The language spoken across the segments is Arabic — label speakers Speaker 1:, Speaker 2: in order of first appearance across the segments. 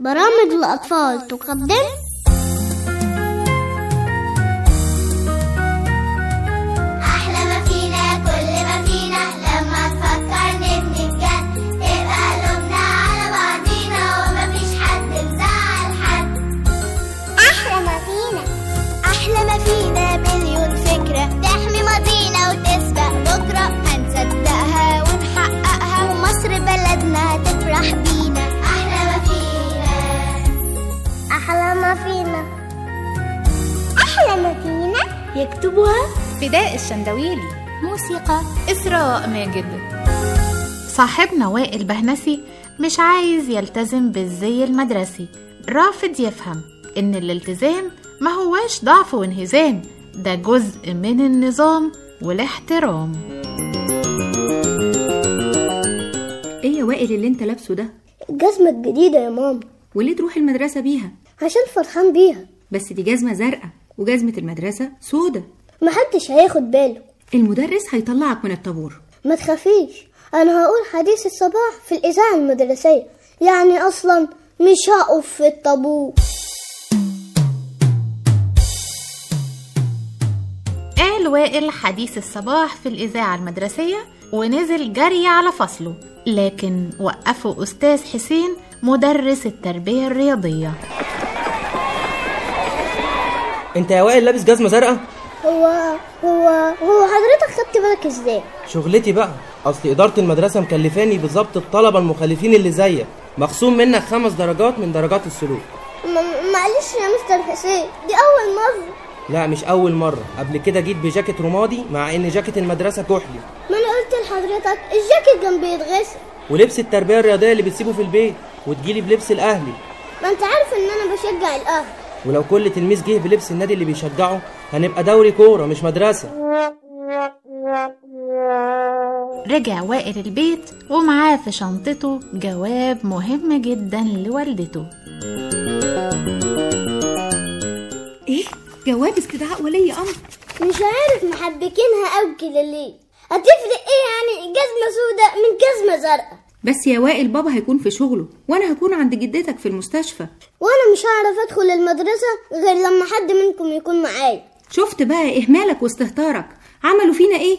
Speaker 1: برامج الأطفال تقدم
Speaker 2: أحلى ما فينا كل ما فينا لما تفكر نبني بجد يبقى قلوبنا على بعضينا ومفيش حد مزعل حد أحلى ما فينا أحلى ما فينا مليون فكرة تحمي ماضينا وتسبق بكرة هنصدقها ونحققها ومصر بلدنا هتفرح بينا أحلى ما فينا أحلى ما فينا أحلى ما فينا يكتبوها
Speaker 3: فداء الشندويلي
Speaker 2: موسيقى
Speaker 3: إسراء ماجد صاحبنا وائل بهنسي مش عايز يلتزم بالزي المدرسي رافض يفهم إن الالتزام ما هواش ضعف وانهزام ده جزء من النظام والاحترام
Speaker 4: ايه يا وائل اللي انت لابسه ده
Speaker 1: الجزمة الجديدة يا ماما
Speaker 4: وليه تروح المدرسه بيها
Speaker 1: عشان فرحان بيها
Speaker 4: بس دي جزمه زرقاء وجزمه المدرسه سودة
Speaker 1: محدش هياخد باله
Speaker 4: المدرس هيطلعك من الطابور
Speaker 1: ما تخافيش أنا هقول حديث الصباح في الإذاعة المدرسية يعني أصلا مش هقف في الطابور
Speaker 3: قال وائل حديث الصباح في الإذاعة المدرسية ونزل جري على فصله لكن وقفه أستاذ حسين مدرس التربية الرياضية
Speaker 5: انت يا وائل لابس جزمه زرقاء
Speaker 1: هو هو هو حضرتك خدت بالك ازاي؟
Speaker 5: شغلتي بقى اصل اداره المدرسه مكلفاني بضبط الطلبه المخالفين اللي زيك مخصوم منك خمس درجات من درجات السلوك
Speaker 1: م- معلش يا مستر حسين دي أول مرة
Speaker 5: لا مش اول مره قبل كده جيت بجاكيت رمادي مع ان جاكيت المدرسه كحلي
Speaker 1: ما أنا قلت لحضرتك الجاكيت جنبي يتغسل
Speaker 5: ولبس التربيه الرياضيه اللي بتسيبه في البيت وتجيلي بلبس الاهلي
Speaker 1: ما أنت عارف إن أنا بشجع الأهل
Speaker 5: ولو كل تلميذ جه بلبس النادي اللي بيشجعه هنبقى دوري كوره مش مدرسه
Speaker 3: رجع وائل البيت ومعاه في شنطته جواب مهم جدا لوالدته
Speaker 4: ايه جواب استدعاء ولي امر
Speaker 1: مش عارف محبكينها أوي كده ليه؟ هتفرق إيه يعني جزمة سودة من جزمة زرقاء؟
Speaker 4: بس يا وائل بابا هيكون في شغله وانا هكون عند جدتك في المستشفى
Speaker 1: وانا مش هعرف ادخل المدرسه غير لما حد منكم يكون معايا
Speaker 4: شفت بقى اهمالك واستهتارك عملوا فينا ايه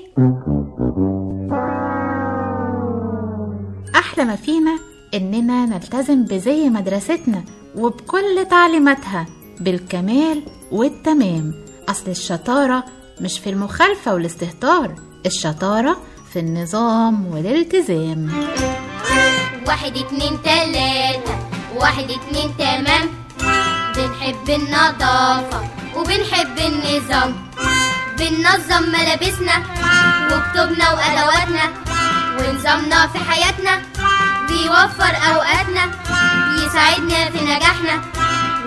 Speaker 3: أحلى ما فينا إننا نلتزم بزي مدرستنا وبكل تعليماتها بالكمال والتمام أصل الشطارة مش في المخالفة والاستهتار الشطارة في النظام والالتزام
Speaker 2: واحد اتنين تلاتة واحد اتنين تمام بنحب النظافة وبنحب النظام بننظم ملابسنا وكتبنا وأدواتنا ونظامنا في حياتنا بيوفر أوقاتنا يساعدنا في نجاحنا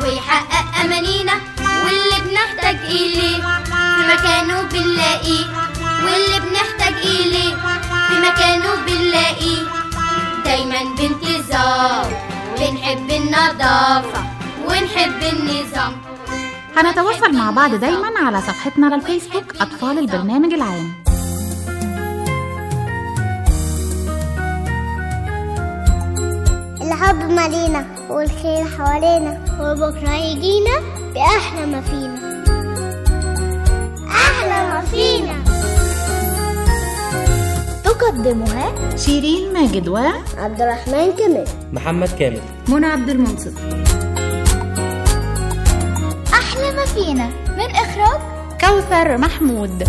Speaker 2: ويحقق أمانينا واللي بنحتاج إليه في مكانه بنلاقيه واللي بنحتاج إليه في مكانه بنلاقيه دايما بانتظام ونحب النظافة ونحب النظام
Speaker 3: هنتواصل مع بعض دايما على صفحتنا على الفيسبوك أطفال البرنامج العام
Speaker 1: الحب مالينا والخير حوالينا وبكره هيجينا باحلى ما فينا احلى ما فينا تقدمها
Speaker 3: شيرين ماجد و
Speaker 1: عبد الرحمن كمال
Speaker 5: محمد كامل
Speaker 4: منى عبد المنصف
Speaker 2: أحلى ما فينا من إخراج
Speaker 3: كوثر محمود